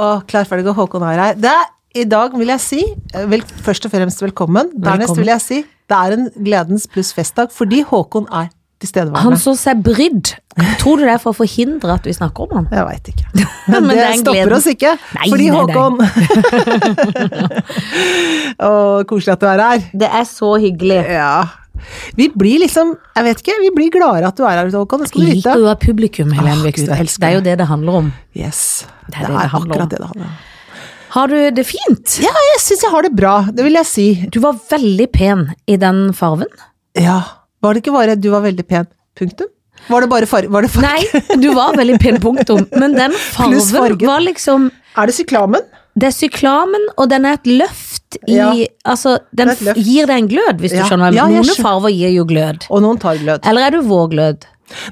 og klar, ferdig, gå, Håkon Hareid. Det er- I dag vil jeg si eh, vel, først og fremst velkommen. Dernest Velkommen. vil jeg si det er en gledens pluss festdag fordi Håkon er Han tilstedeværende. som seg brydd. Tror du det er for å forhindre at vi snakker om han? Jeg veit ikke. Men, Men det, det er en stopper gleden. oss ikke. Nei, fordi nei, nei. Håkon Å, koselig at du er her. Det er så hyggelig. Ja. Vi blir liksom Jeg vet ikke, vi blir gladere at du er her, Håkon. Det skal du Liker vite. jo av publikum, Åh, Helene Gud, jeg Vikstvedt. elsker Det er jo det det handler om. Yes. Det er er, det det handler om. akkurat det det handler om. Har du det fint? Ja, jeg syns jeg har det bra. Det vil jeg si. Du var veldig pen i den farven. Ja. Var det ikke bare 'du var veldig pen'? Punktum? Var det bare farge? Var det farge? Nei, du var veldig pen, punktum. Men den Pluss farven fargen. var liksom Er det syklamen? Det er syklamen, og den er et løft i Ja. Altså, Det den er et løft. gir deg en glød, hvis Ja. du skjønner. Ja, jeg hva jeg mener. Noen skjønner. farver gir jo glød. Og noen tar glød. Eller er du vår glød?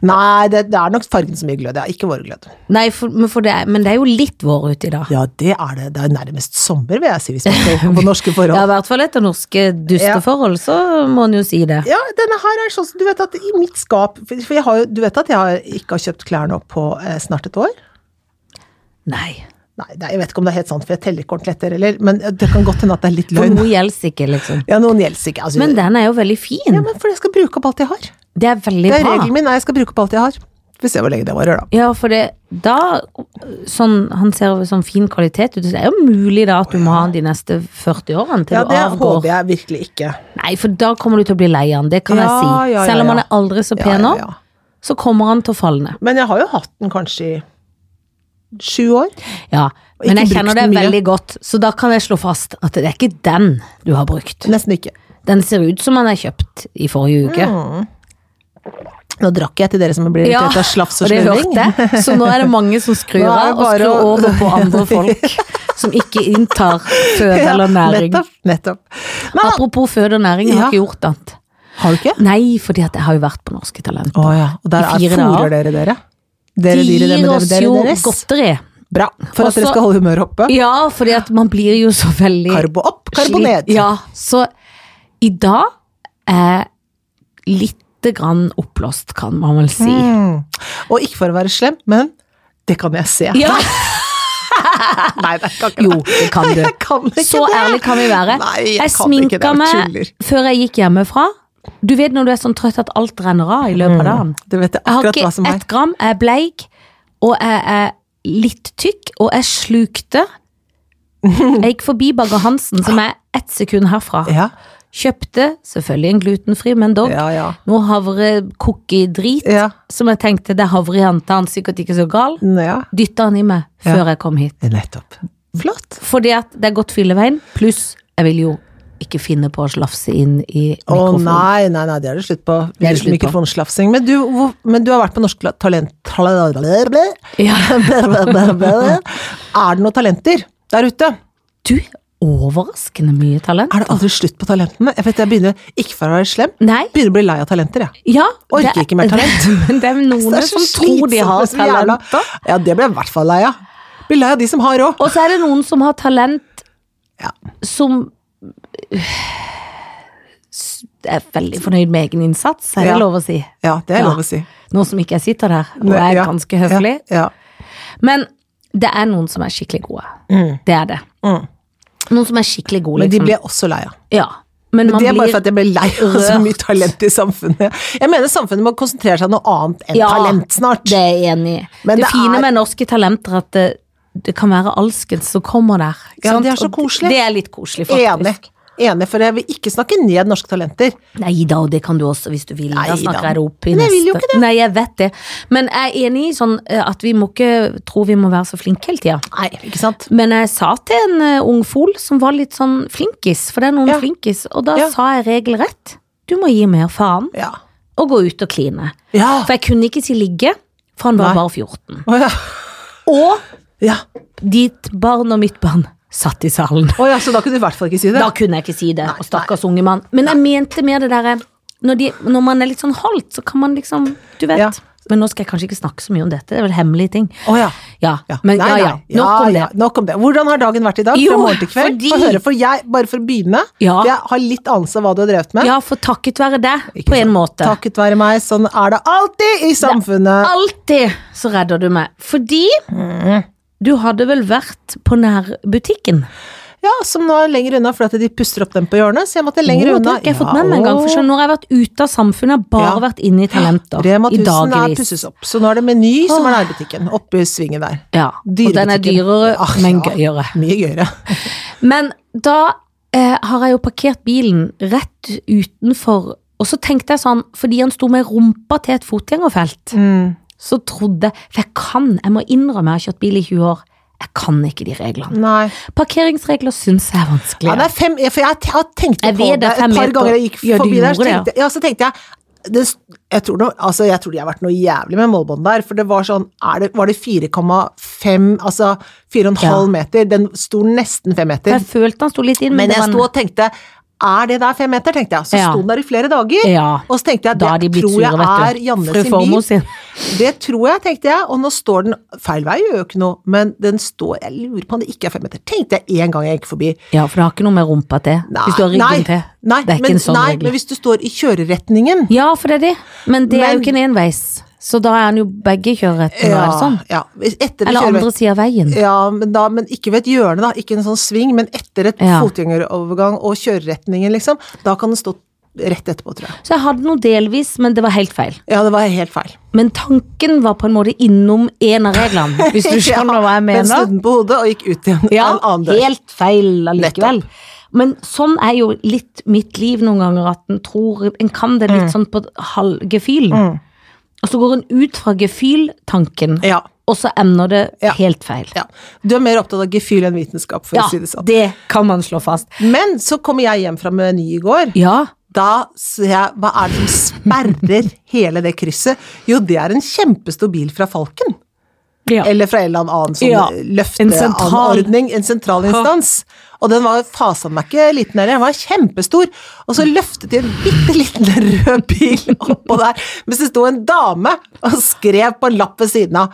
Nei, det, det er nok fargen som gir glød, ja. Ikke vår glød. Nei, for, men, for det, er- men det er jo litt vår ute i dag. Ja, det er det. Det er nærmest sommer, vil jeg si, hvis man skal på norske forhold. Ja, i hvert fall etter norske dusteforhold, så må en jo si det. Ja, denne her er sånn som du vet at i mitt skap For for jeg har jo, du vet at jeg har, ikke har kjøpt klær nå på eh, snart et år? Nei. Nei, det er, jeg vet ikke om det er helt sant, for jeg teller ikke ordentlig etter, eller Men det kan godt hende at det er litt For løgn. noe gjelder ikke, liksom. Ja, noen gjelder ikke. Altså, Men den er jo veldig fin. ja, men for jeg skal bruke opp alt jeg har. Det er veldig Det er bra. regelen min, er jeg skal bruke opp alt jeg har. Får se hvor lenge det varer, da. Ja, for det, da sånn, Han ser jo sånn fin kvalitet ut. så Det er jo mulig da at du må ha den de neste 40 årene til Ja, du det avgår. håper jeg virkelig ikke. Nei, for da kommer du til å bli lei av den, det kan jeg Ja, si. ja, ja, Selv om ja. han er aldri så Ja, pen nå, ja, ja. så kommer han til å falle ned. Men jeg har jo hatt den kanskje i sju år. Ja, Og men ikke jeg brukt kjenner det den mye. veldig godt, så da kan jeg slå fast at det er ikke den du har brukt. Nesten ikke. Den ser ut som han er kjøpt i forrige Mm. uke. Nå drakk jeg til dere som blir Ja, irritert av slafs og og det slurving. hørte jeg. Så nå er det mange som skrur Nå er det bare av og skrur å- over på andre folk som ikke inntar føde Ja, eller næring. Nettopp. nettopp. Men, Apropos føde og næring, jeg har Ja. ikke gjort annet. har du ikke? Nei, fordi at jeg har jo vært på Norske Talent. Å ja. Og der I er, fire fôrer dere dere? Dere De dyret, gir dem og oss dere jo deres? godteri. Bra. For at Også- dere skal holde humøret oppe. Ja, fordi at man blir jo så veldig Karbo opp, karbo ned. slitt. Ja, så i dag er lite grann oppblåst, kan man vel si. Mm. Og ikke for å være slem, men det kan jeg se. Ja, Nei, det kan ikke jo, det. det kan du. Jeg kan ikke Så det. ærlig kan vi være. Nei, jeg, Jeg kan ikke det. sminka meg Tuller. før jeg gikk hjemmefra. Du vet når du er sånn trøtt at alt renner av i løpet av dagen. Du vet det Jeg har Mm. akkurat hva som ikke er. ett gram, jeg er bleik, og jeg er litt tykk, og jeg slukte Jeg gikk forbi Bagger Hansen, som er ett sekund herfra. Ja, Kjøpte selvfølgelig en glutenfri, men dog ja, ja. noe havrekookie-drit, Ja. som jeg tenkte det er havre i han, da er han sikkert ikke så gal. Nå, ja. Dytta han i meg Ja. før jeg kom hit. Nettopp. Flott. Fordi at det er godt fylleveien, pluss jeg vil jo ikke finne på å slafse inn i Å mikrofonen. nei, nei, nei, det er det slutt på. Det er det slutt på. Mikrofonslafsing. Men du, hvor, men du har vært på Norsk La- Talent... Ja. Er det noen talenter der ute? Du, overraskende mye talent. Er det aldri slutt på talentene? Jeg vet, jeg begynner, ikke for å være slem, Nei, begynner å bli lei av talenter, jeg. ja. Orker det- ikke mer talent. det- Men det er noen Det er så som tror de slitsomt har med så jævla- talent. Ja, det ble jeg i hvert fall lei av. Blir lei av de som har råd. Og så er det noen som har talent Ja. som s- er veldig fornøyd med egen innsats, er det Ja. lov å si. Ja, det er Ja. lov å si. Nå som ikke jeg sitter der, og er Ja, ganske høflig. Ja. Men det er noen som er skikkelig gode. ja. Mm. Det er det. Mm. Noen som er skikkelig gode, Men de liksom. ble jeg også lei av. Ja. Men Men man det er bare blir for at jeg ble lei av så rørt. mye talent i samfunnet. Jeg mener samfunnet må konsentrere seg om noe annet enn Ja, talent snart. Det er jeg enig i. Men det, det fine er- med norske talenter er at det, det kan være alskens som kommer der. ikke Ja, sant? det er så Og koselig. Det er litt koselig, Enig. faktisk. Enig, for jeg vil ikke snakke ned norske talenter. Nei da, og det kan du også hvis du vil. Nei da da. snakker jeg det opp i Men neste. jeg vil jo ikke Nei, jeg vet det. Men jeg er enig i sånn eh, at vi må ikke tro vi må være så flinke hele tida. Nei, ikke sant? Men jeg sa til en eh, ung fol som var litt sånn flinkis, for det er noen Ja. flinkis, og da Ja. sa jeg regelrett. Du må gi mer faen Ja. og gå ut og kline. Ja. For jeg kunne ikke si ligge, for han Nei. var bare 14. Å ja. Og Ja. ditt barn og mitt barn satt i salen. Å ja, så da kunne du i hvert fall ikke si det? Da kunne jeg ikke si det, Nei, og stakkars unge mann. Men jeg mente mer det derre når, de, når man er litt sånn holdt, så kan man liksom Du vet. Ja. Men nå skal jeg kanskje ikke snakke så mye om dette, det er vel hemmelige ting. Å ja. Ja, Ja. men Nei, ja, ja. nei. Nok om det. Ja, ja, Nok om det. Hvordan har dagen vært i dag? Jo, Fra morgen til kveld? fordi- Få høre, for jeg, bare for å begynne, Ja. for jeg har litt anelse om hva du har drevet med. Ja, for takket være deg, Ikke på en sant. måte. Takket være meg, sånn er det alltid i samfunnet. Mm. Alltid så redder du meg. Fordi Du hadde vel vært på nærbutikken? Ja, som nå er lenger unna, fordi at de puster opp den på hjørnet, så jeg måtte lenger Å, Det unna. har ikke jeg fått Ja, med meg engang. For sånn å. skjønn, nå har jeg vært ute av samfunnet, har bare Ja. vært inne i Talenter. Rema I 1000 er dagevis. pusses opp, så nå er det Meny som er nærbutikken, oppe i svingen der. Ja, og den er Dyrebutikken. dyrere, Ah, men ja. gøyere. Mye gøyere. Men da eh, har jeg jo parkert bilen rett utenfor, og så tenkte jeg sånn, fordi han sto med rumpa til et fotgjengerfelt, Mm. så trodde jeg, for jeg kan, jeg må innrømme, jeg har kjørt bil i 20 år, jeg kan ikke de reglene. Nei. Parkeringsregler synes jeg er vanskelig. Ja, det er fem, ja, for jeg t- har tenkt Jeg på vet det at et det er par mer på- ganger jeg gikk Ja, du forbi der, så gjorde det, tenkte, jeg- ja, så tenkte jeg det, s- jeg, tror noe, altså, jeg tror de har vært noe jævlig med målbåndet der, for det var sånn er det, Var det 4,5 Altså 4,5 meter? Den sto nesten fem meter. jeg følte han sto litt inn, Men Mm. det jeg var en- sto og tenkte er det der fem meter, tenkte jeg. Så Ja. sto den der i flere dager. Ja. Og så tenkte jeg Da er de det blitt tror sure, jeg vet er du. Janne Fru sin Formoe bil. sin. Det tror jeg, tenkte jeg. Og nå står den Feil vei gjør jo ikke noe, men den står Jeg lurer på om det ikke er fem meter. Tenkte jeg en gang jeg gikk forbi. Ja, for det har ikke noe med rumpa til. Nei, Hvis du har ryggen nei, til. Nei, det er ikke men, en sånn nei, regel. men hvis du står i kjøreretningen Ja, for det er det. Men det er jo Men- ikke en enveis. Så da er han jo begge kjøreretninger, er det sånn? ja, hvis- etter Eller kjørevei- andre sida av veien. Ja, men, da, men ikke ved et hjørne, da. Ikke en sånn sving, men etter et Ja. fotgjengerovergang og kjøreretningen, liksom. Da kan den stå rett etterpå, tror jeg. Så jeg hadde noe delvis, men det var helt feil. Ja, det var helt feil. Men tanken var på en måte innom en av reglene, hvis du skjønner hva jeg Men mener. snudde den på hodet og gikk ut igjen Ja, en annen dør. helt feil allikevel. Men sånn er jo litt mitt liv noen ganger, at en tror En kan det Mm. litt sånn på halv gefühlen. Og så går en ut fra gefühltanken, Ja, og så ender det Ja. helt feil. ja. Du er mer opptatt av gefühl enn vitenskap, for å si det sånn. det kan man slå fast. Men så kommer jeg hjem fra Meny i går. Ja, Da ser jeg Hva er det som sperrer hele det krysset? Jo, det er en kjempestor bil fra Falken. ja. Eller fra en eller annen sånn Ja, en sentral- løfteanordning, en sentral instans. Og den var fasen meg ikke liten heller, den var kjempestor. Og så løftet de en bitte liten rød bil oppå der, mens det sto en dame og skrev på en lapp ved siden av.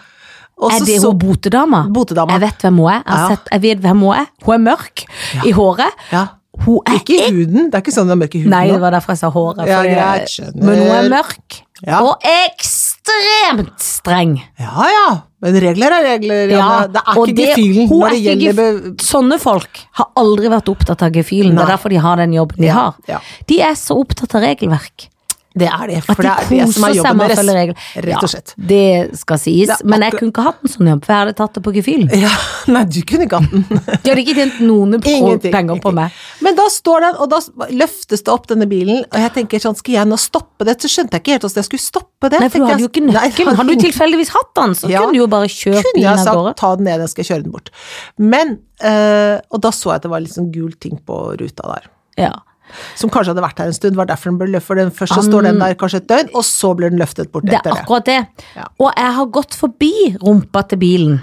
Og Er så det så- hun botedama? Botedama. Jeg vet hvem hun er. Jeg, har Ja. sett, jeg vet hvem hun er. Hun er mørk i håret. Ja. Hun er Ikke i huden, det er ikke sånn den er mørk i huden. Nei, det nå. var derfor jeg sa håret. Ja, fordi- greit, skjønner. men hun er mørk. Ja. Og ekstremt streng. Ja ja, men regler er regler. Janne. det er og ikke gefühlen hun når er det ikke gjelder gef- be- Sånne folk har aldri vært opptatt av gefühlen. Det er Nei. derfor de har den jobben de Ja, har. ja. De er så opptatt av regelverk. Det er det, for At de det er det som er koser seg jobben med å følge deres. regler. Rett og slett. Ja, det skal sies. Det er Men jeg akkurat- kunne ikke hatt en sånn jobb, for jeg hadde tatt det på gefühlen. Ja, nei, du kunne ikke hatt den. De hadde ikke tjent noen pro- Ingenting. penger på meg. Men da står den, og da løftes det opp denne bilen, og jeg tenker sånn, skal jeg nå stoppe det? Så skjønte jeg ikke helt hvordan jeg skulle stoppe det. Nei, for du Tenkte hadde jo jeg, ikke nei, jeg nøkkelen. Hadde du tilfeldigvis hatt den, så Ja. kunne du jo bare kjørt Kunne bilen jeg av sagt gårde. ta den ned, jeg skal kjøre den bort. Men, eh, og da så jeg at det var litt sånn gul ting på ruta der. Ja. Som kanskje hadde vært her en stund, var derfor den ble løftet. For den først så står den der kanskje et døgn, og så blir den løftet bort Mm. Det er etter det. akkurat det. Ja. Og jeg har gått forbi rumpa til bilen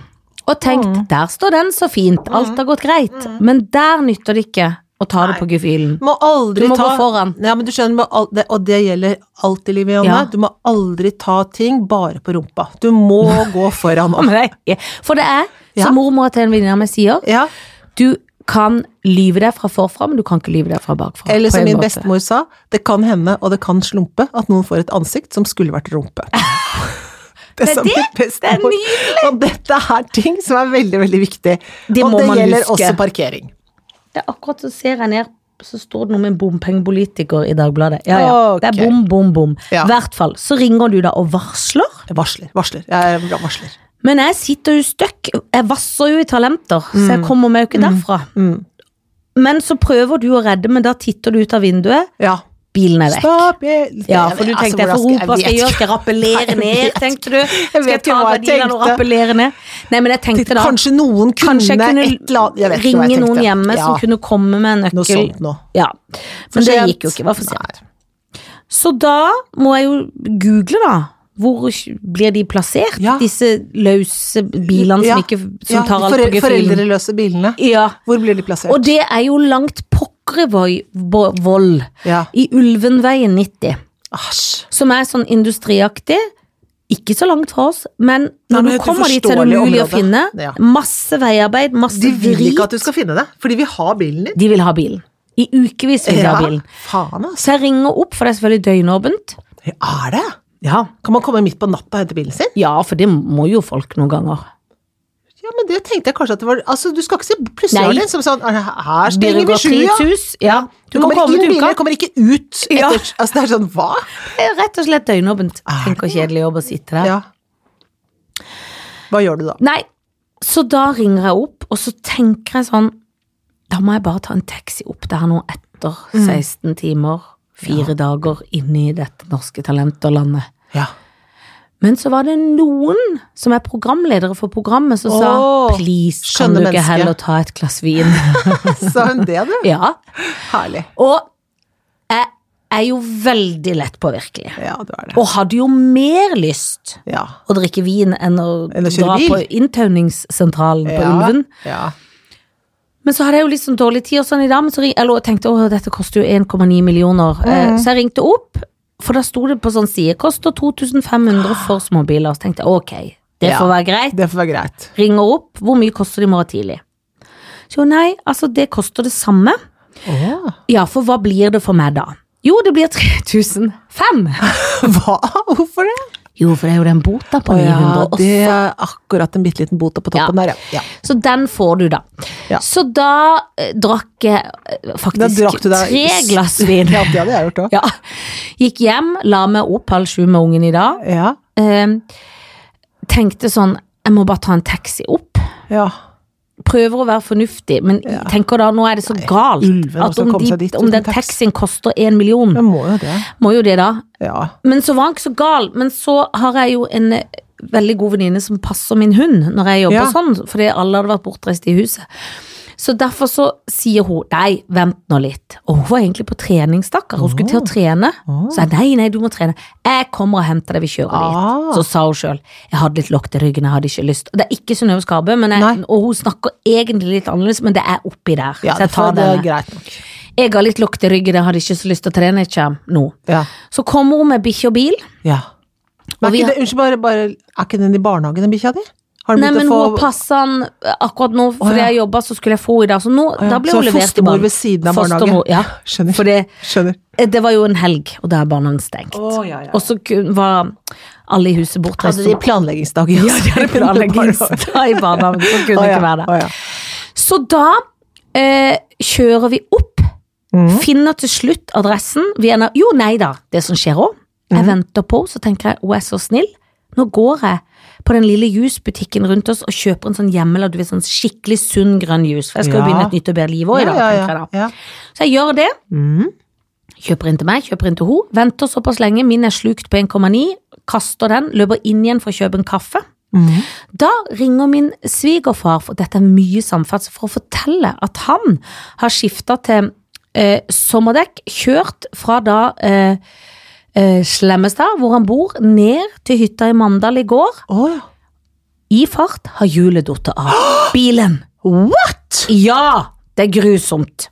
og tenkt Mm. der står den så fint, alt har gått greit. Men der nytter det ikke å ta det på gefühlen. Må aldri Du må ta, gå foran. Ja, men du skjønner, må al- det, og det gjelder alt i livet, Janne. Ja. Du må aldri ta ting bare på rumpa. Du må gå foran. Ja, men det er- For det er, Ja. som mormora til en venninne av meg sier, Ja. du kan lyve deg fra forfra, men du kan ikke lyve deg fra bakfra. Eller på som en min måte. bestemor sa, det kan hende og det kan slumpe at noen får et ansikt som skulle vært rumpe. Det, er sa det. min bestemor. Det Og dette er ting som er veldig, veldig viktig. Det og må det man gjelder huske. også parkering. Det er akkurat så ser jeg ned, så står det noe med bompengepolitiker i Dagbladet. Ja, ja. Ok. Det er bom, bom, bom. I Ja. hvert fall. Så ringer du da og varsler. Jeg varsler, varsler. Jeg er bra varsler. Men jeg sitter jo støkk. Jeg vasser jo i talenter, så jeg kommer meg jo ikke derfra. Mm. Men så prøver du å redde, men da titter du ut av vinduet. Ja. Bilen er vekk. Stopp jeg- Ja, for du Altså, tenkte jeg hvordan får rope, hva skal jeg gjøre? vet Skal jeg rappellere Nei, jeg ned, vet tenkte du? Skal jeg vet ikke ta hva jeg gardinene og tenkte. rappellere ned? Nei, men jeg ikke. tenkte da, Kanskje noen kunne, kanskje jeg kunne et eller annet Jeg vet ikke hva jeg ringe tenkte. noen hjemme ja, som kunne komme med en Noe nøkkel. sånt nå. Ja, men det sent. gikk jo ikke, det var for sent. Nei. Så da må jeg jo google, da. Hvor blir de plassert, Ja. disse løse bilene Ja, som, ikke, som ja, tar alt fore- på gefühlen? Foreldreløse bilene. Ja. Hvor blir de plassert? Og det er jo langt Pokkervoll Ja. i Ulvenveien 90, Æsj. som er sånn industriaktig. Ikke så langt fra oss, men Nei, når men du et kommer dit, så er det uforståelig umulig å område. finne. Ja. Masse veiarbeid, masse De vil vri. ikke at du skal finne det, for de vil ha bilen din. De vil ha bilen. I ukevis vil de ha bilen. faen altså. Så jeg ringer opp, for det er selvfølgelig døgnåpent. Er det? Ja. Kan man komme midt på natta og hente bilen sin? ja, for det må jo folk noen ganger. Ja, men det tenkte jeg kanskje at det var Altså, du skal ikke se plutselig Nei. var det en som sånn Her stenger vi sjua! Byråkratis-hus. Ja. Du Du må kommer komme inn til biler, uka. kommer ikke ut etter Ja. Altså, det er sånn Hva? Det er Rett og slett døgnåpent. Tenk hvor kjedelig jobb å sitte der. Ah. Ja. Hva gjør du da? Nei, så da ringer jeg opp, og så tenker jeg sånn Da må jeg bare ta en taxi opp der nå etter Mm. 16 timer, fire dager inne i dette norske talenterlandet. Ja. Men så var det noen som er programledere for programmet, som Åh, sa please, kan skjønne du ikke menneske. heller ta et glass vin? Sa hun det, du? ja. Herlig. Og jeg er jo veldig lett påvirkelig. Ja, du er det. Og hadde jo mer lyst Ja. å drikke vin enn å, Enn å kjøre dra bil. på inntauningssentralen på Ja. Ulven. Ja. Men så hadde jeg jo litt sånn dårlig tid og sånn i dag, men så ring, jeg lå og tenkte åh, dette koster jo 1,9 millioner. Eh, Så jeg ringte opp, for da sto det på sånn side, koster 2500 for småbiler. Så tenkte jeg ok, det Ja. får være greit. Det får være greit. Ringer opp, hvor mye koster det i morgen tidlig? Så jo, nei, altså det koster det samme. Ja, for hva blir det for meg da? Jo, det blir 3005. Hva? Hvorfor det? Jo, for det er jo den bota på 900. det er akkurat en bitte liten bot på toppen der, ja. ja. Så den får du, da. Ja. Så da eh, drakk jeg eh, Da faktisk drakk du deg tre glass vin. Ja, det hadde jeg gjort òg. Ja. Gikk hjem, la meg opp halv sju med ungen i dag. Ja. Eh, tenkte sånn, jeg må bare ta en taxi opp. ja. Prøver å være fornuftig, men tenker da, nå er det så galt ulven at også om, kom de, seg dit om uten den taxi. taxien koster én million, Jeg må jo det. må jo det da. Ja. Men så var han ikke så gal. Men så har jeg jo en eh, veldig god venninne som passer min hund når jeg jobber Ja. sånn, fordi alle hadde vært bortreist i huset. Så derfor så sier hun nei, vent nå litt. Og hun var egentlig på trening, stakkar. Hun skulle til å trene. Så jeg nei, nei, du må trene. Jeg kommer og henter deg, vi kjører Ah. dit. Så sa hun sjøl jeg hadde litt lokk til ryggen, jeg hadde ikke lyst. Og Det er ikke Synnøve Skarbø, men Nei. jeg, og hun snakker egentlig litt annerledes, men det er oppi der. ja så jeg tar det er denne. greit nok. Jeg har litt lokk til ryggen, jeg hadde ikke så lyst til å trene, jeg kommer nå. Ja. Så kommer hun med bikkje og bil. ja. Men Og er vi ikke har- det, unnskyld, bare, bare Er ikke den i barnehagen, den bikkja di? Har den Nei, men begynt å hun få passa han eh, akkurat nå, fordi Å, ja. jeg jobba, så skulle jeg få henne i dag. Så nå, ja. da ble Så hun levert i fostermor barn. ved siden av barnehagen. Fostermor, Ja, Skjønner. for det, Skjønner. eh, det var jo en helg, og da er barnehagen stengt. Å, ja, ja, ja. Og så kun- var alle i huset bortreist. Hadde de planleggingsdag i Altså, ja, de hadde planleggingsdag i barnehagen, så kunne ikke være der. Å, ja. Så da eh, kjører vi opp, Mm. finner til slutt adressen. Vi ender, jo, nei da, det som skjer òg. Mm. Jeg venter på henne, så tenker jeg hun er så snill. Nå går jeg på den lille jusbutikken rundt oss og kjøper en sånn hjemmeladd, du vet, sånn skikkelig sunn grønn jus. For jeg skal jo Ja. begynne et nytt og bedre liv òg i dag, Ja, ja, tenker jeg da. ja. Så jeg gjør det. Mm. Kjøper inn til meg, kjøper inn til hun. Venter såpass lenge, min er slukt på 1,9. Kaster den, løper inn igjen for å kjøpe en kaffe. Mhm. Da ringer min svigerfar, for dette er mye samferdsel, for å fortelle at han har skifta til eh, sommerdekk, kjørt fra da eh, eh, Slemmestad, hvor han bor, ned til hytta i Mandal i går. Å, ja. I fart har hjulet falt av bilen. What?! Ja! Det er grusomt.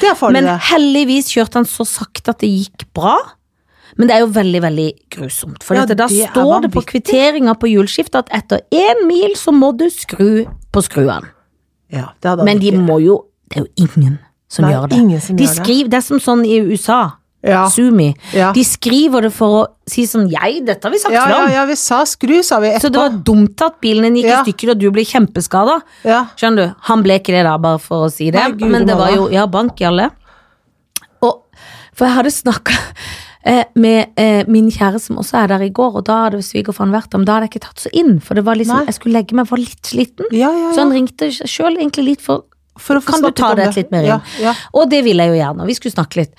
Det er farlig, Men det. heldigvis kjørte han så sakte at det gikk bra. Men det er jo veldig veldig grusomt. For Ja, dette, da det er står det på vanvittig. kvitteringa på hjulskiftet at etter én mil så må du skru på skruene. Ja, det hadde han Men de ikke. må jo Det er jo ingen som Nei, gjør det. ingen som de gjør det. skriver, det er som sånn i USA. ja. Sumi. Ja. De skriver det for å si sånn Jeg, dette har vi sagt Ja, før ja, om. ja, vi sa skru, sa vi Så det etterpå. var dumt at bilen din gikk Ja. i stykker og du ble kjempeskada. Ja. Skjønner du? Han ble ikke det, da, bare for å si det. Nei, Gud, men det mamma. var jo Ja, bank i alle. Og For jeg hadde snakka eh, med eh, min kjære som også er der i går, og da hadde svigerfaren vært der, men da hadde jeg ikke tatt så inn. For det var liksom Nei. Jeg skulle legge meg, var litt sliten. Ja, ja, Så ja. han ringte sjøl egentlig litt for For å få Sånn, Kan du snakket ta om det litt mer inn? Ja, ja. Og det ville jeg jo gjerne, og vi skulle snakke litt.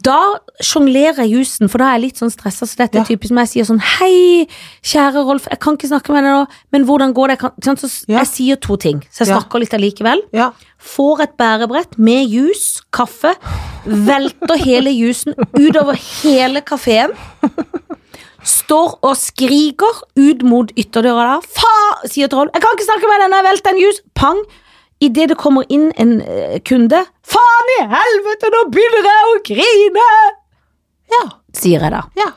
Da sjonglerer jeg jusen, for da er jeg litt sånn stressa. Så dette Ja. er typisk når jeg sier sånn Hei, kjære Rolf, jeg kan ikke snakke med deg nå, men hvordan går det? Jeg, kan, ikke sant? så s- Ja. jeg sier to ting, så jeg Ja. snakker litt allikevel. ja. Får et bærebrett med jus, kaffe, velter hele jusen utover hele kafeen. Står og skriker ut mot ytterdøra der. Faen, sier Troll. Jeg kan ikke snakke med deg når jeg velter en jus. Pang. Idet det kommer inn en eh, kunde. Faen i helvete, nå begynner jeg å grine! ja. Sier jeg da. ja.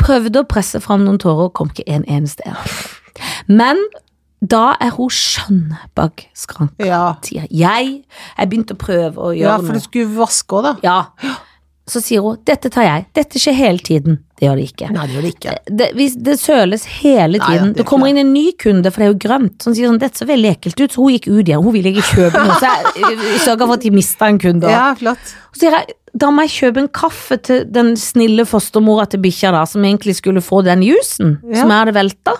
Prøvde å presse fram noen tårer, kom ikke en eneste en. Men da er hun skjønn bak skranken Ja. sier jeg. Jeg begynte å prøve å ja, gjøre for du noe. skulle vaske òg, da. Ja. Så sier hun 'dette tar jeg'. Dette skjer hele tiden. Det gjør det ikke. Nei, det gjør det ikke. Det, hvis- det søles hele Nei, ja, tiden. det det, gjør kommer ikke inn en ny kunde, for det er jo grønt, som sier sånn 'dette så veldig ekkelt ut', så hun gikk ut igjen. Hun ville ikke kjøpe noe, så jeg jeg sørga for at de mista en kunde. Ja, flott. Så sier jeg da må jeg kjøpe en kaffe til den snille fostermora til bikkja, da, som egentlig skulle få den jusen Ja. som jeg hadde velta.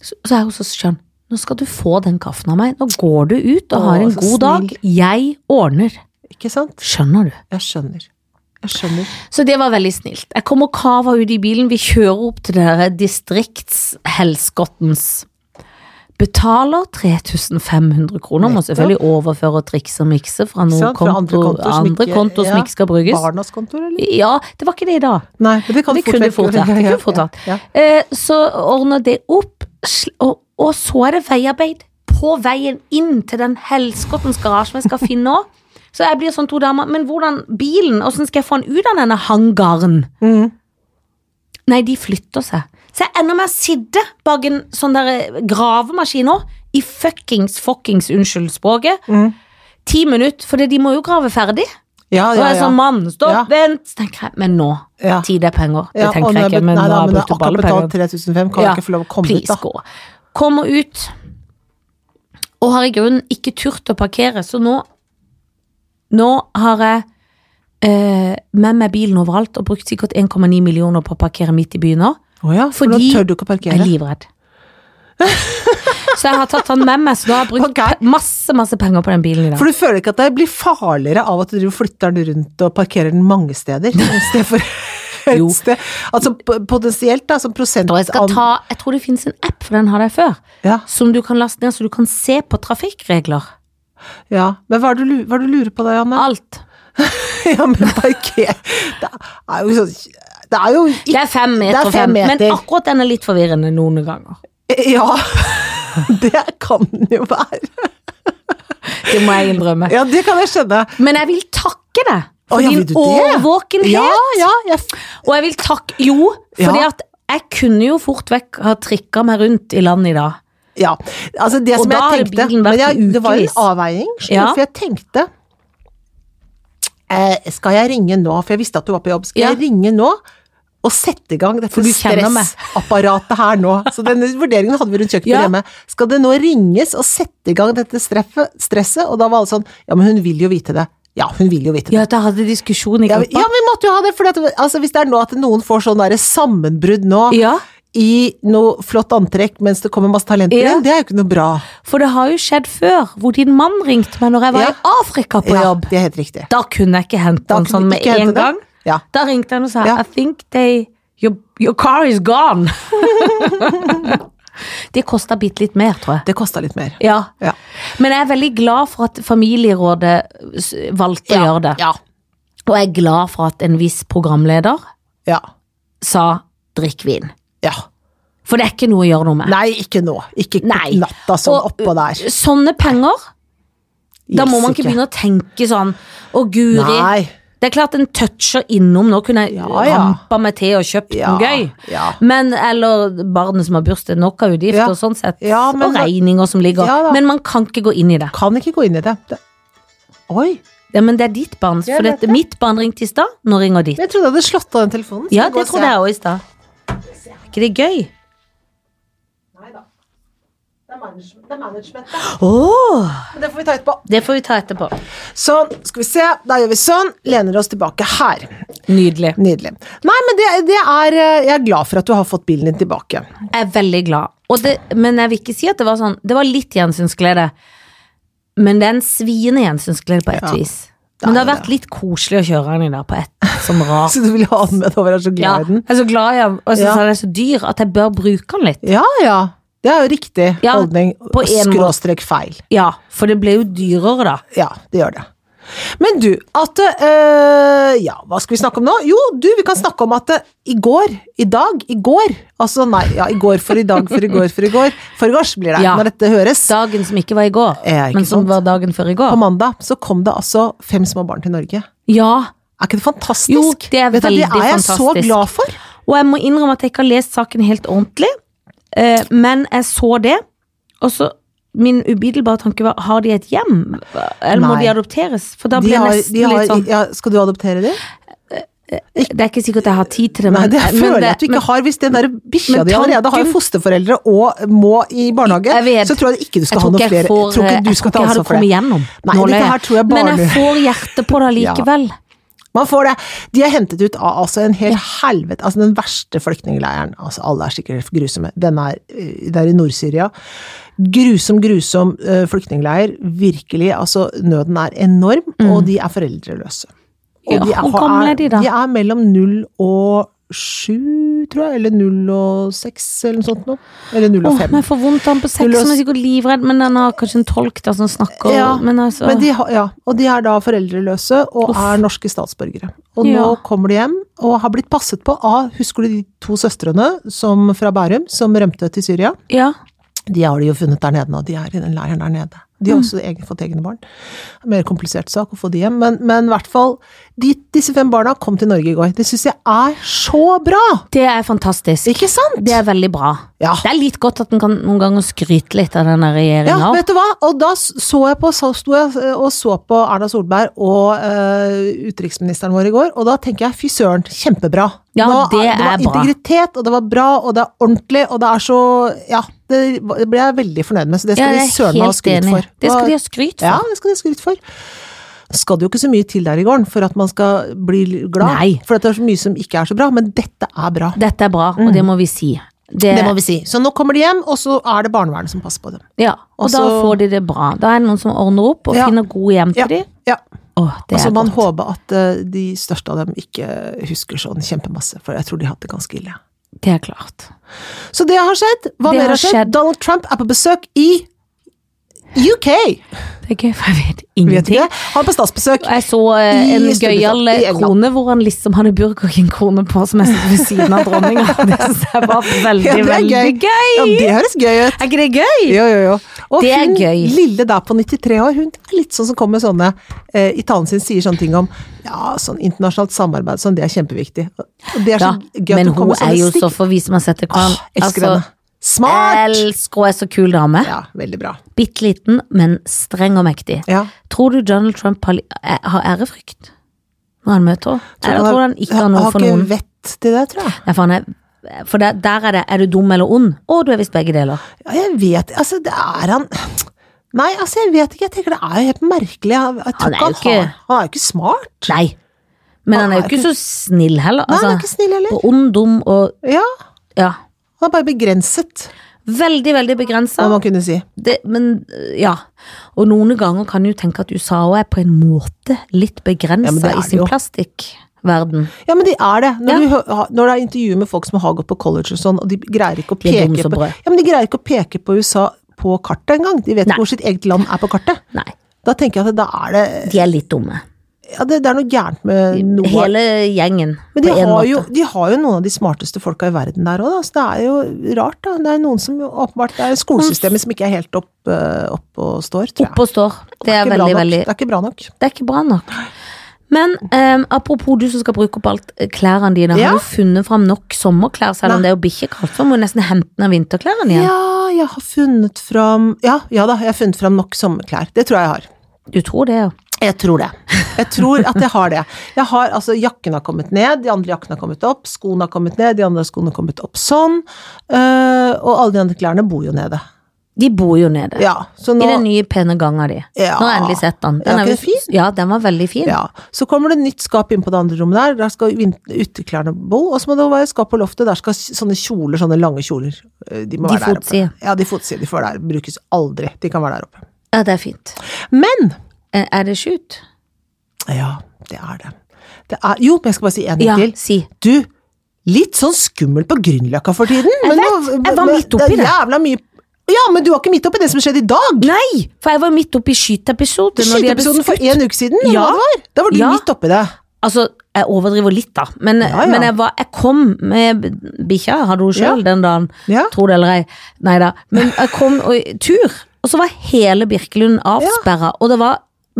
Så, så er hun så skjønn. Nå skal du få den kaffen av meg. Nå går du ut og Å, har en så god dag. Jeg ordner. Ikke sant? Skjønner du? Jeg skjønner. Jeg skjønner. Så det var veldig snilt. Jeg kom og kava ut i bilen. Vi kjører opp til dere distriktshelskottens. Betaler 3500 kroner. Må Nettopp. selvfølgelig overføre og trikse og mikse fra Ikke noen sant? Fra andre konto, kontoer som andre ikke- kontoer som ja. ikke skal brukes. Barnas kontor, eller? Ja, det var ikke det i dag. Nei, men det kan Det fort kunne vekk- fort vært, det Ja, ja, kunne fort vært. Ja, ja. Eh, så ordner det opp, sl- og, og så er det veiarbeid på veien inn til den helskottens garasjen jeg skal finne nå. Så jeg blir sånn to damer, men hvordan bilen, hvordan skal jeg få den ut av denne hangaren? Mm. Nei, de flytter seg. Så jeg ender med å sitte bak en sånn der gravemaskin nå, i fuckings, fuckings, unnskyld språket, Mm. ti minutter, for de må jo grave ferdig. ja, Og ja, jeg er ja. sånn, mann, stopp, Ja. vent, så tenker jeg, men nå, Ja. tid er penger. Det Ja, og tenker nå jeg er ikke, bet- men nei, nå da, har jeg men brukt opp alle akkurat pengene. betalt 3500, kan Ja, du ikke få lov å komme Please, ut, da? gå. Kommer ut, og har i grunnen ikke turt å parkere, så nå Nå har jeg eh, med meg bilen overalt og brukt sikkert 1,9 millioner på å parkere midt i byen nå. Å ja, for Fordi- da tør du ikke å Jeg parkere. er livredd. så jeg har tatt han med meg, så nå har jeg brukt Ok. pe- masse, masse penger på den bilen i dag. For du føler ikke at det blir farligere av at du driver og flytter den rundt og parkerer den mange steder? I stedet for Jo. et sted. Altså p- potensielt, da, som prosent Og jeg, skal ta, jeg tror det finnes en app, for den hadde jeg før, ja, som du kan laste ned, så du kan se på trafikkregler. ja. Men hva er det du, lu- hva er det du lurer på da, Janne? Alt. ja, men parker Det er jo sånn Det er jo Det er fem meter, Det er fem fem, men meter. akkurat den er litt forvirrende noen ganger. ikke Ja. Det kan den jo være. Det må jeg innrømme. Ja, det kan jeg skjønne. Men jeg vil takke deg for Å, ja, vil du din det? årvåkenhet. Ja, ja, jeg Og jeg vil takke Jo, fordi Ja. at jeg kunne jo fort vekk ha trikka meg rundt i landet i dag. Ja, altså det Og som da har jeg tenkte bilen men vært jeg, Det var en ukevis. avveining, skjønner Ja. du, for jeg tenkte eh, Skal jeg ringe nå, for jeg visste at du var på jobb, skal Ja. jeg ringe nå? Og sette i gang dette du kjenner meg. stressapparatet her nå. Så denne vurderingen hadde vi rundt kjøkkenet Ja. hjemme. Skal det nå ringes og sette i gang dette streffet, stresset? Og da var alle sånn Ja, men hun vil jo vite det. Ja, hun vil jo vite det. Ja, da hadde diskusjon i Ja, gruppa. ja, vi måtte jo ha det, for altså, hvis det er nå at noen får sånn derre sammenbrudd nå, Ja, i noe flott antrekk mens det kommer masse talenter Ja. inn, det er jo ikke noe bra. for det har jo skjedd før, hvor din mann ringte meg når jeg var Ja. i Afrika på jobb. Ja, det er helt riktig. Da kunne jeg ikke hente Da han kunne sånn du med ikke hente en det. gang. Ja. Da ringte han og sa Ja. I think they Your, your car is gone. det kosta bitte litt mer, tror jeg. Det kosta litt mer. Ja. Ja. Men jeg er veldig glad for at familierådet s- valgte å gjøre det. Ja. Og jeg er glad for at en viss programleder ja. sa drikk vin. ja. For det er ikke noe å gjøre noe med. Nei, ikke nå. Ikke på Nei. natta sånn Og- oppå der. Sånne penger, da må man ikke begynne å tenke sånn Å, guri. Nei. Det er klart en toucher innom. Nå kunne jeg Ja, ja. rampa meg til og kjøpt Ja. noe gøy. Ja. Men, eller barnet som har bursdag, nok av utgifter Ja. og sånn sett. Ja, men og da- regninger som ligger. Ja da. men man kan ikke gå inn i det. Kan ikke gå inn i det. det. Oi. Ja, men det er ditt barn. Jeg For vet dette, mitt barn ringte i stad, nå ringer ditt. Jeg trodde jeg hadde slått av den telefonen. Skal Ja, jeg gå og det se? trodde jeg òg i stad. Er ikke det gøy? Neida. Det er manage- det er management, det. Åh, Men det får vi ta etterpå. det får vi ta etterpå. Sånn, skal vi se. Da gjør vi sånn. Lener oss tilbake her. Nydelig. Nydelig. Nei, men det, det er eh, Jeg er glad for at du har fått bilen din tilbake. Jeg er veldig glad. Og det, men jeg vil ikke si at det var sånn Det var litt gjensynsglede. Men det er en sviende gjensynsglede på et Ja, vis. det Men det er har jo vært litt koselig å kjøre den i dag på et som rar. Så du vil ha den med deg over, jeg er så Ja, glad i den. jeg er så glad i den, og jeg syns Ja. den er så dyr at jeg bør bruke den litt. Ja ja, det er jo riktig Ja, holdning. på en måte. Skråstrek feil. Ja, for det ble jo dyrere, da. Ja, det gjør det. Men du, at øh, Ja, hva skal vi snakke om nå? Jo, du, vi kan snakke om at øh, i går, i dag, i går Altså, nei, ja, i går for i dag, for i går for i går. Forgårs blir det, Ja. når dette høres. Dagen som ikke var i går, Ja, ikke men som sant? var dagen før i På går. mandag så kom det altså fem små barn til Norge. Ja, Er ikke det fantastisk? Jo, det er Vet du, veldig Det er jeg fantastisk. så glad for. Og jeg må innrømme at jeg ikke har lest saken helt ordentlig, eh, men jeg så det. Og så min umiddelbare tanke var har de et hjem, eller må Nei. de adopteres? For da De ble jeg har, nesten de har, litt sånn ja, skal du adoptere dem? Det er ikke sikkert jeg har tid til det, Nei, men, det men føler jeg at du ikke men- har. Hvis den der bikkja men di allerede har tanken- fosterforeldre og må i barnehage, Jeg vet. så tror jeg ikke du skal Jeg ha tror noe ikke flere. jeg får Jeg eh, tror ikke du skal ta jeg hadde ansvar for kommet det. gjennom. Nei, Nå løy dette her tror jeg Men barne- jeg får hjertet på det likevel. Man får det. De er hentet ut av altså, en helt helvete Altså den verste flyktningleiren. Altså, alle er sikkert grusomme. Den er, eh, det er i Nord-Syria. Grusom, grusom eh, flyktningleir. Virkelig. Altså, nøden er enorm, og de er foreldreløse. Mm. Ja, hvor gamle er de da? De er mellom null og sju, tror jeg. Eller null og seks, eller noe sånt noe. Eller null Åh, og fem. men jeg får vondt av den på sex, Du løs- som er sikkert livredd, men den har kanskje en tolk der som snakker, Ja, men altså Men de, har- ja, og de er da foreldreløse og Uff. er norske statsborgere. Og nå Ja. kommer de hjem og har blitt passet på av Husker du de to søstrene som, fra Bærum som rømte til Syria? Ja. De har de jo funnet der nede nå, de er i den leiren der nede. De har Mm. også egen, fått egne barn. Mer komplisert sak å få de hjem, men, men i hvert fall de, Disse fem barna kom til Norge i går. Det syns jeg er så bra! Det er fantastisk. Ikke sant? Det er veldig bra. Ja. Det er litt godt at en kan noen ganger skryte litt av denne regjeringa. Ja, vet du hva? Og da s- så jeg på, så sto jeg eh, og så på Erna Solberg og eh, utenriksministeren vår i går, og da tenker jeg fy søren, kjempebra. Ja, Nå, det det var er bra. integritet, og det var bra, og det er ordentlig, og det er så Ja, det var- det ble jeg veldig fornøyd med, så det skal de søren meg ha skryt for. Det skal de ha skryt skryt for. Ja, for. det skal de ha skryt for. Skal det jo ikke så mye til der i gården for at man skal bli glad, Nei. for at det er så mye som ikke er så bra, men dette er bra. Dette er bra, og det må vi si. Det, Mm. Det må vi si. Så nå kommer de hjem, og så er det barnevernet som passer på dem. Ja, og Og så- da får de det bra. Da er det noen som ordner opp og Ja. finner gode hjem til Ja, dem. ja. Åh, det Og så er Altså, man godt. håpe at eh, de største av dem ikke husker sånn kjempemasse, for jeg tror de har hatt det ganske ille. Det er klart. Så det har skjedd. Hva Det mer har har skjedd? skjedd. Donald Trump er på besøk i UK! Det er gøy, for jeg vet Vet du ingenting. det? Han er på statsbesøk. Jeg så eh, I en Storbritannia- gøyal i England. krone hvor han liksom hadde Burger King-krone på som jeg satt ved siden av dronninga. Det syns jeg var veldig, Ja, det er veldig gøy. gøy. Ja, det høres gøy ut. Er ikke det gøy? Jo, jo, jo. Og Det er hun gøy. lille der på 93 år, hun er litt sånn som kommer med sånne eh, I talen sin sier sånne ting om ja, sånn internasjonalt samarbeid, sånn, det er kjempeviktig. Og det er så Ja, gøy at men hun hun kommer med er sånne jo så altså, stikk. for vi som har sett det kan. Åh, elsker henne. Smart! elsker hun er så kul dame. Ja, veldig bra. Bitte liten, men streng og mektig. Ja. Tror du Donald Trump har, li- eh, har ærefrykt når han møter henne? Eller tror du han ikke har Han noe for noen? Har ikke vett til det, tror jeg. Nei, for han er, for der, der er det 'er du dum eller ond'? Å, du er visst begge deler. Ja, jeg vet Altså, det er han Nei, altså, jeg vet ikke. Jeg tenker det er jo helt merkelig. Jeg, jeg tror Han ikke er jo han, ikke- har Han er jo ikke smart. Nei. Men Han han er jo er ikke så snill heller. Nei, han er Altså, ikke snill heller. og ond, dum og Ja, Ja. han er bare begrenset, Veldig, veldig begrensa. må man kunne si. det, men øh, ja. Og noen ganger kan jeg jo tenke at USA òg er på en måte litt Ja, men begrensa det er i sin det jo. plastikkverden. Ja, men de er det. Når, Ja. du hø- ha- når det er intervjuer med folk som har gått på college og sånn, og de greier ikke å De er peke dumme som på brød. Ja, men de greier ikke å peke på USA på kartet engang. De vet Nei. ikke hvor sitt eget land er på kartet. Nei, Da tenker jeg at da er det de er litt dumme. Ja, det, det er noe gærent med noe av Hele gjengen, Men de på en har, måte. jo, de har jo noen av de smarteste folka i verden der òg, da. Så det er jo rart, da. Det er noen som jo åpenbart Det er skolesystemet som ikke er helt opp, eh, opp og står, tror jeg. Oppe og står. Det er ikke bra veldig, nok. veldig Det er ikke bra nok. Det er ikke bra nok. Men eh, apropos du som skal bruke opp alt eh, klærne dine, Ja. har du funnet fram nok sommerklær, selv om Nei. det er jo bikkjekaldt? For man må jo nesten hente ned vinterklærne igjen. Ja, jeg har funnet fram Ja, ja da, jeg har funnet fram nok sommerklær. Det tror jeg jeg har. Du tror det, ja. Jeg tror det. Jeg tror at jeg har det. Jeg har, altså, jakken har kommet ned, de andre jakkene har kommet opp, skoene har kommet ned, de andre skoene har kommet opp sånn. eh, og alle de andre klærne bor jo nede. De bor jo nede. Ja, så nå I den nye, pene ganga di. Ja. Nå har jeg endelig sett den. Ja, er ikke jo- det ja, den var veldig fin. Ja, Så kommer det nytt skap inn på det andre rommet der, der skal vin- uteklærne bo, og så må det være skap på loftet, der skal sånne kjoler, sånne lange kjoler, eh, de må De være der fotside. oppe. Ja, de fotside, de får der, brukes aldri, de kan være der oppe. Ja, det er fint. Men, Eh, Er det skjut? ja, det er det. det er, jo, men jeg skal bare si en ting Ja, til. si. Du, litt sånn skummel på Grünerløkka for tiden. Jeg men vet, nå- jeg var men midt Det oppi er det. jævla mye, ja, men du var ikke midt oppi det som skjedde i dag. Nei! For jeg var midt oppi skyteepisoden. når de hadde Skyteepisoden for skutt. en uke siden, Ja. eller hva det var. Da var du Ja. midt oppi det. Altså, jeg overdriver litt, da. Men, Ja, ja. men jeg, var, jeg kom med bikkja, hadde hun sjøl den dagen. Ja. Tro det eller ei. Nei da. Men jeg kom og, tur, og så var hele Birkelund avsperra. Og det var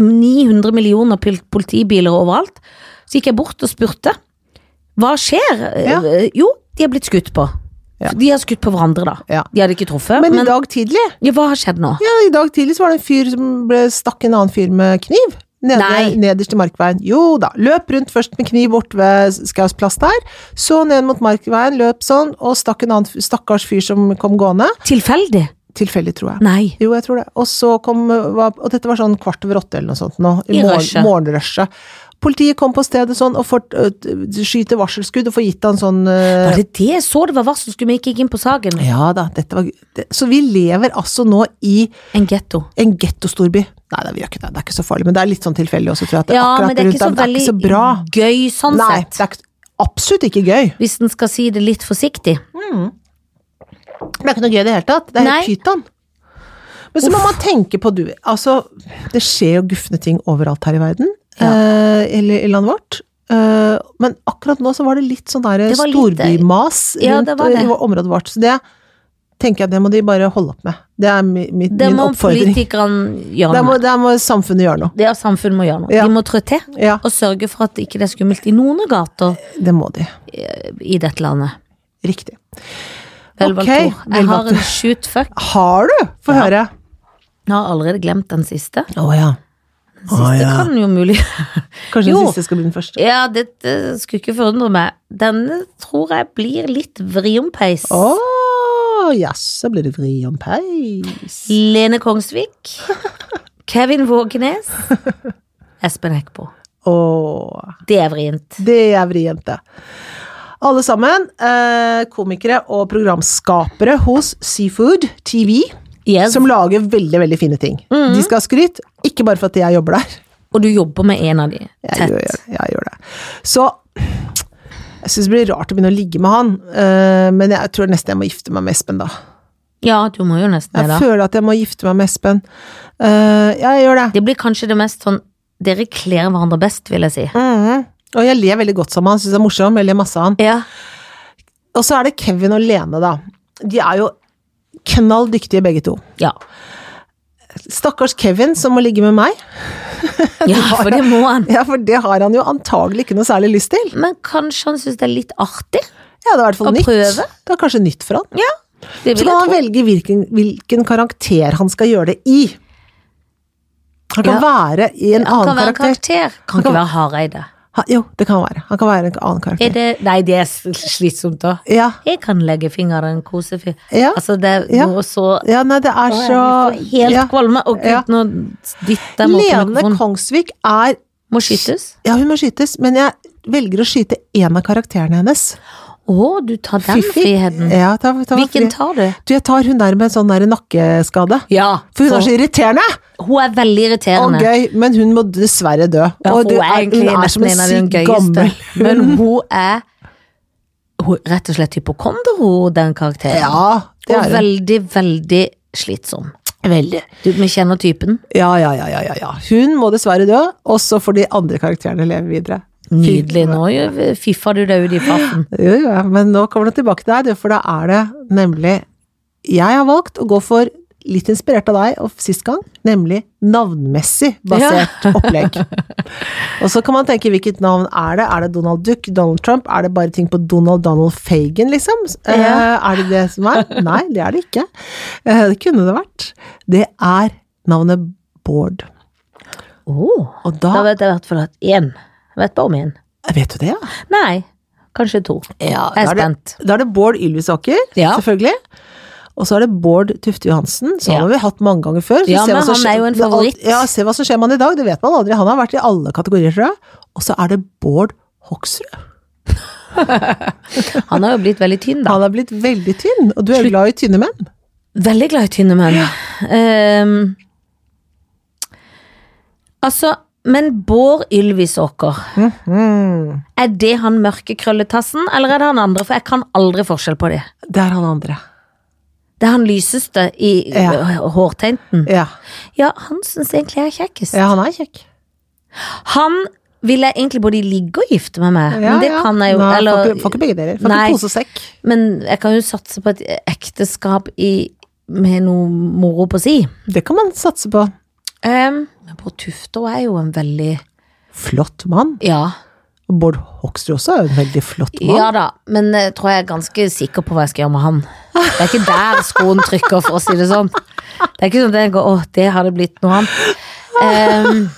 900 millioner pil- politibiler overalt. Så gikk jeg bort og spurte. Hva skjer? Ja. Eh, Jo, de er blitt skutt på. Ja. De har skutt på hverandre, da. Ja. De hadde ikke truffet. Men, Men, i dag tidlig. ja, hva har skjedd nå? Ja, I dag tidlig så var det en fyr som ble stakk en annen fyr med kniv. Nede, Nei. Nederst i markveien. Jo da. Løp rundt først med kniv bort ved Skaus plass der. Så ned mot markveien, løp sånn, og stakk en annen f- stakkars fyr som kom gående. Tilfeldig? Tilfeldig, tror jeg. Nei. Jo, jeg tror det. Og så kom var, Og dette var sånn kvart over åtte eller noe sånt nå. I morgen- rushet. Morgenrushet. Politiet kom på stedet sånn og fort, øh, skyter varselskudd og får gitt han sånn øh, Var det det jeg så det var varsel, skulle vi ikke gikk inn på saken? Ja da, dette var det, Så vi lever altså nå i En getto. en gettostorby. Nei, det, vi gjør ikke det. det er ikke så farlig, men det er litt sånn tilfeldig også, tror jeg. At det Ja, akkurat men det er ikke så rundt der, det veldig er ikke så bra. gøy sånn Nei, sett. det er ikke, absolutt ikke gøy. Hvis en skal si det litt forsiktig. Det er ikke noe gøy i det hele tatt. Det er helt Nei. pyton. Men så må man tenke på du, altså det skjer jo gufne ting overalt her i verden, Ja. eh, eller i landet vårt. Eh, men akkurat nå så var det litt sånn der Det var litt- eh, storbymas Ja, rundt eh, det var det. i området vårt. Så det tenker jeg det må de bare holde opp med. Det er mi, mi, Det min må oppfordring. politikerne gjøre Der må, noe med. der må samfunnet gjøre noe. Det er samfunnet må gjøre noe. Ja. De må trå til Ja, og sørge for at ikke det er skummelt i noen gater det må de. i dette landet. Riktig. Vel valgt Ok, ord. vel Jeg valgt har ord. en shoot fuck. Har du? Få høre. Jeg har allerede glemt den siste. Å ja. Den siste kan jo mulig Kanskje Jo. den siste skal bli den første. Ja, dette skulle ikke forundre meg. Denne tror jeg blir litt vriompeis. Å, jaså, blir det vri om peis. Lene Kongsvik. Kevin Vågenes. Espen Eckbo. Å, Det er vrient. det er vrient, det. Alle sammen, eh, komikere og programskapere hos Seafood TV, Yes. Mhm. som lager veldig, veldig fine ting. De skal ha skryt, ikke bare for at jeg jobber der. Og du jobber med en av de. Jeg Tett. gjør, det, jeg gjør det. Så jeg syns det blir rart å begynne å ligge med han, eh, men jeg tror nesten jeg må gifte meg med Espen, da. Ja, du må jo nesten Jeg det, da. føler at jeg må gifte meg med Espen. Eh, jeg gjør det. Det blir kanskje det mest sånn Dere kler hverandre best, vil jeg si. Mhm. Og jeg ler veldig godt sammen med han, syns det er morsom, jeg ler masse av han. Ja. Og så er det Kevin og Lene, da. De er jo knalldyktige begge to. Ja, Stakkars Kevin som må ligge med meg. ja for det må han. Ja, for det har han jo antagelig ikke noe særlig lyst til. Men kanskje han syns det er litt artig? Ja, det er i hvert fall Å nytt. prøve. Det er kanskje nytt for han. Det Så kan vil jeg han tro. velge hvilken, hvilken karakter han skal gjøre det i. Han kan Ja. være i en Han annen kan være en karakter. karakter. Kan kan- ikke være Hareide. Ha, jo, det kan han være. Han kan være en annen Er karakter. det, nei, det er sl- slitsomt, da. Ja, Jeg kan legge fingeren i en kosefyr. Ja. Altså, det er Ja. noe så ja nei, det er Å, så jeg blir Helt ja. kvalme. Og Ja. gud, nå dytter jeg meg opp i Lene mikrofonen. Kongsvik er Må skytes. Ja, hun må skytes, men jeg velger å skyte én av karakterene hennes. Å, du tar den Fifi. friheten. Ja, ta, ta, Hvilken fri. tar du? Du, jeg tar hun der med en sånn der nakkeskade. Ja, For hun er så irriterende hun er veldig og irriterende. gøy, men hun må dessverre dø. Ja, og hun du er egentlig hun er som nesten en av de syk gøyeste. gammel hund. Men hun er hun, er rett og slett hypokonder, hun, den karakteren. Ja, det og er hun. veldig, veldig slitsom. Veldig. Du, vi kjenner typen. Ja, ja, ja, ja, ja, ja. Hun må dessverre dø, og så får de andre karakterene leve videre. Nydelig. Nå jo- fiffer du deg ut i farten. Jo, jo, ja, men nå kommer du tilbake til deg, du, for da er det nemlig Jeg har valgt å gå for, litt inspirert av deg og sist gang, nemlig navnmessig basert opplegg. Og så kan man tenke hvilket navn er det? Er det Donald Duck, Donald Trump? Er det bare ting på Donald Donald Fagan, liksom? Eh, Ja. er det det som er? Nei, det er det ikke. Eh, det kunne det vært. Det er navnet Bård. Oh, Og da da vet jeg i hvert fall at én. Jeg Vet bare om én. Vet du det, ja? Nei, kanskje to. Ja, Jeg da er er det- spent. Da er det Bård Ylvisåker, Ja. selvfølgelig. Og så er det Bård Tufte Johansen, som Ja. har vi hatt mange ganger før. Så Ja, se hva men som han er skjer- jo en det alt- favoritt. Ja, se hva som skjer med han i dag, det vet man aldri. Han har vært i alle kategorier, tror jeg. Og så er det Bård Hoksrud. Han har jo blitt veldig tynn, da. Han er blitt veldig tynn, og du er jo glad i tynne menn. Veldig glad i tynne menn. Ehm, altså, men Bård Ylvisåker, er det han mørke krølletassen, eller er det han andre? For jeg kan aldri forskjell på det. Det er han andre. Det er han lyseste i Ja. øh, hårteinten. Ja, Ja, han syns egentlig jeg er kjekkest. ja han er kjekk. Han vil jeg egentlig både ligge og gifte meg med, Ja, men det ja. kan jeg jo Nei, eller, får, ikke, får ikke begge deler. Får Nei. ikke pose og sekk. Men jeg kan jo satse på et ekteskap i, med noe moro på si. Det kan man satse på. Um, men Bård Tufte er jo en veldig Flott mann. Ja. Og Bård Hoksrud også er jo en veldig flott mann. Ja da, men jeg tror jeg er ganske sikker på hva jeg skal gjøre med han. Det er ikke der skoen trykker, for å si det sånn. Det er ikke sånn at jeg går 'Å, det hadde blitt noe annet'. Ehm,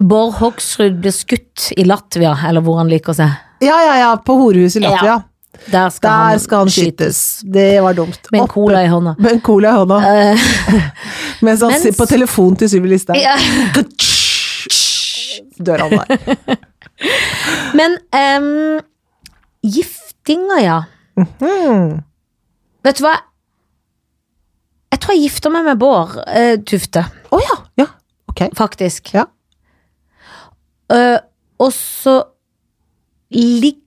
Bård Hoksrud ble skutt i Latvia, eller hvor han liker seg. Ja, ja, ja, på horehuset i Latvia. Der skal Der han, skal han skytes. Det var dumt. med en Oppe- cola i hånda. Med en cola i hånda. Eh, Mens han mens- sitter på telefon til Sylvi Listhaug. ja. Dør han der. Men um, giftinga, ja. Mhm. Vet du hva? Jeg tror jeg gifter meg med Bård eh, Tufte, Å ja. Ja, ok. faktisk. Ja. Eh, og så ligger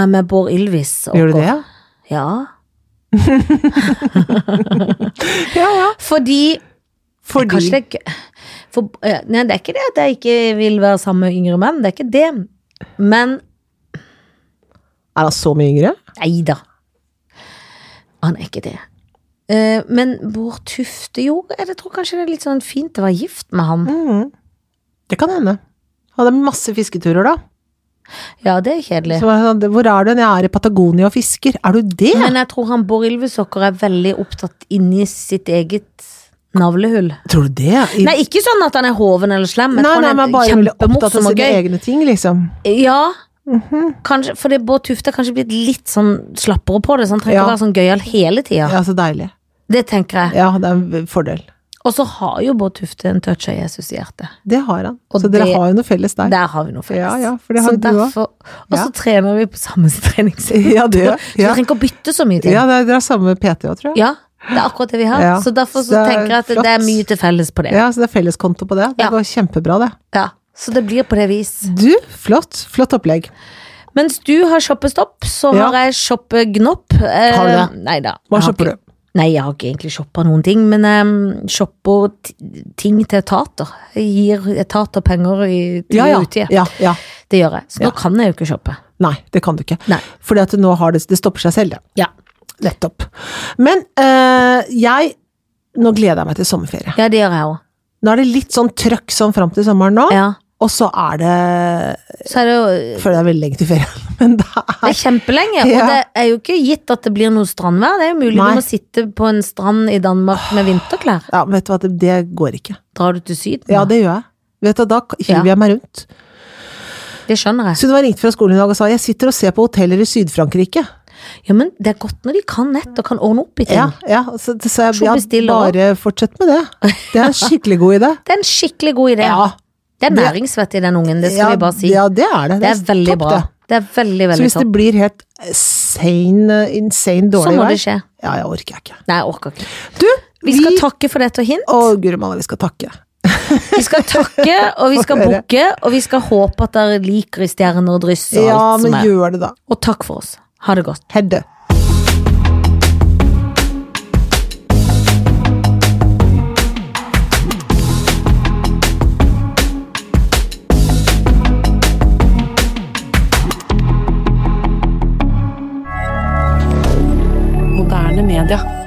jeg med Bård Ylvis. og Gjør du går. det, ja? Ja. Ja, ja. Fordi Fordi Kanskje det er ikke for, eh, Nei, det er ikke det at jeg ikke vil være sammen med yngre menn. Det er ikke det. Men Er han så mye yngre? nei da. Han er ikke det. Eh, men Bård Tufte jo, jeg tror kanskje det er litt sånn fint å være gift med han. Mhm. Det kan hende. Hadde masse fisketurer, da. Ja, det er kjedelig. Så var jeg sånn, hvor er du? Jeg er i Patagonia og fisker. Er du det? Men jeg tror han Bård Ylvesokker er veldig opptatt inni sitt eget navlehull. Tror du det? I, Nei, ikke sånn at han er hoven eller slem. nei, Jeg tror nei, han men er bare veldig opptatt av Mhm. kjempemorsom sine og gøy. egne ting, liksom. Ja, kanskje, for det Bård Tufte er kanskje blitt litt sånn slappere på det. Så han trenger ikke Ja. å være sånn gøyal hele tida. Ja, så deilig. Det tenker jeg. Ja, det er en fordel. Og så har jo Bård Tufte en touch av Jesus i hjertet. Det har han. Og så dere det- har jo noe felles der. Der har vi noe felles. Ja, ja, for det har Så jo du også. derfor- Og så Ja. trener vi på samme treningssenter. Ja, det Så vi ja. trenger ikke å bytte så mye ting. ja, det er- dere har samme PT òg, tror jeg. Ja, det er akkurat det vi har. Ja. Så derfor Det så er tenker jeg at det flott. er mye til felles på det. Ja. Ja, så det er felleskonto på det. Det Ja. Mm. går kjempebra, det. Så det blir på det vis. Du, flott. Flott opplegg. Mens du har shoppestopp, så Ja. har jeg shoppegnopp. Eh, Har du Nei da. Hva Jeg har shopper ikke- du? Nei, jeg har ikke egentlig shoppa noen ting, men jeg shopper t- ting til etater. Jeg gir etater penger i, til Ja, ja. utida. ja, ja. Det gjør jeg. Så nå kan jeg jo ikke shoppe. Nei, det kan du ikke. Nei. Fordi at du nå har det, det stopper seg selv, det. Ja. Nettopp. Men eh, jeg Nå gleder jeg meg til sommerferie. Ja, det gjør jeg òg. Nå er det litt sånn trøkk sånn fram til sommeren nå, Ja. og så er det Så er det jo Føler jeg er veldig lenge til ferien, men det det er er kjempelenge, Ja. og det er jo ikke gitt at det blir noe strandvær. Det er jo mulig Nei. du må sitte på en strand i Danmark med vinterklær. Ja, vet du hva, det, det går ikke. Drar du til Syden? Ja, da? det gjør jeg. Vet du, Da hiver Ja. jeg meg rundt. det skjønner jeg. Så hun var ringt fra skolen i dag og sa jeg sitter og ser på hoteller i Syd-Frankrike. Ja, men det er godt når de kan nett og kan ordne opp i ting. Ja, ja, så, så jeg Så ja, bestiller også. bare fortsett med det. Det er en skikkelig god idé. Det er en skikkelig god idé. Ja, Det er Det- næringsvett i den ungen, det skal ja, vi bare si. Ja, det er det. det er veldig topp, bra. det. Det er veldig, Så veldig hvis det topp. blir helt sane, insane Så dårlig må vær det skje. Ja, jeg orker jeg ikke. Nei, jeg orker ikke. Du, Vi skal takke for dette og hint. Å, guri malla, vi skal takke. Vi skal takke, og vi skal Få høre. bukke, og vi skal håpe at dere liker i stjerner og dryss og Ja, alt som men er. gjør det, da. Og takk for oss. Ha det godt. Hedde. moderne media.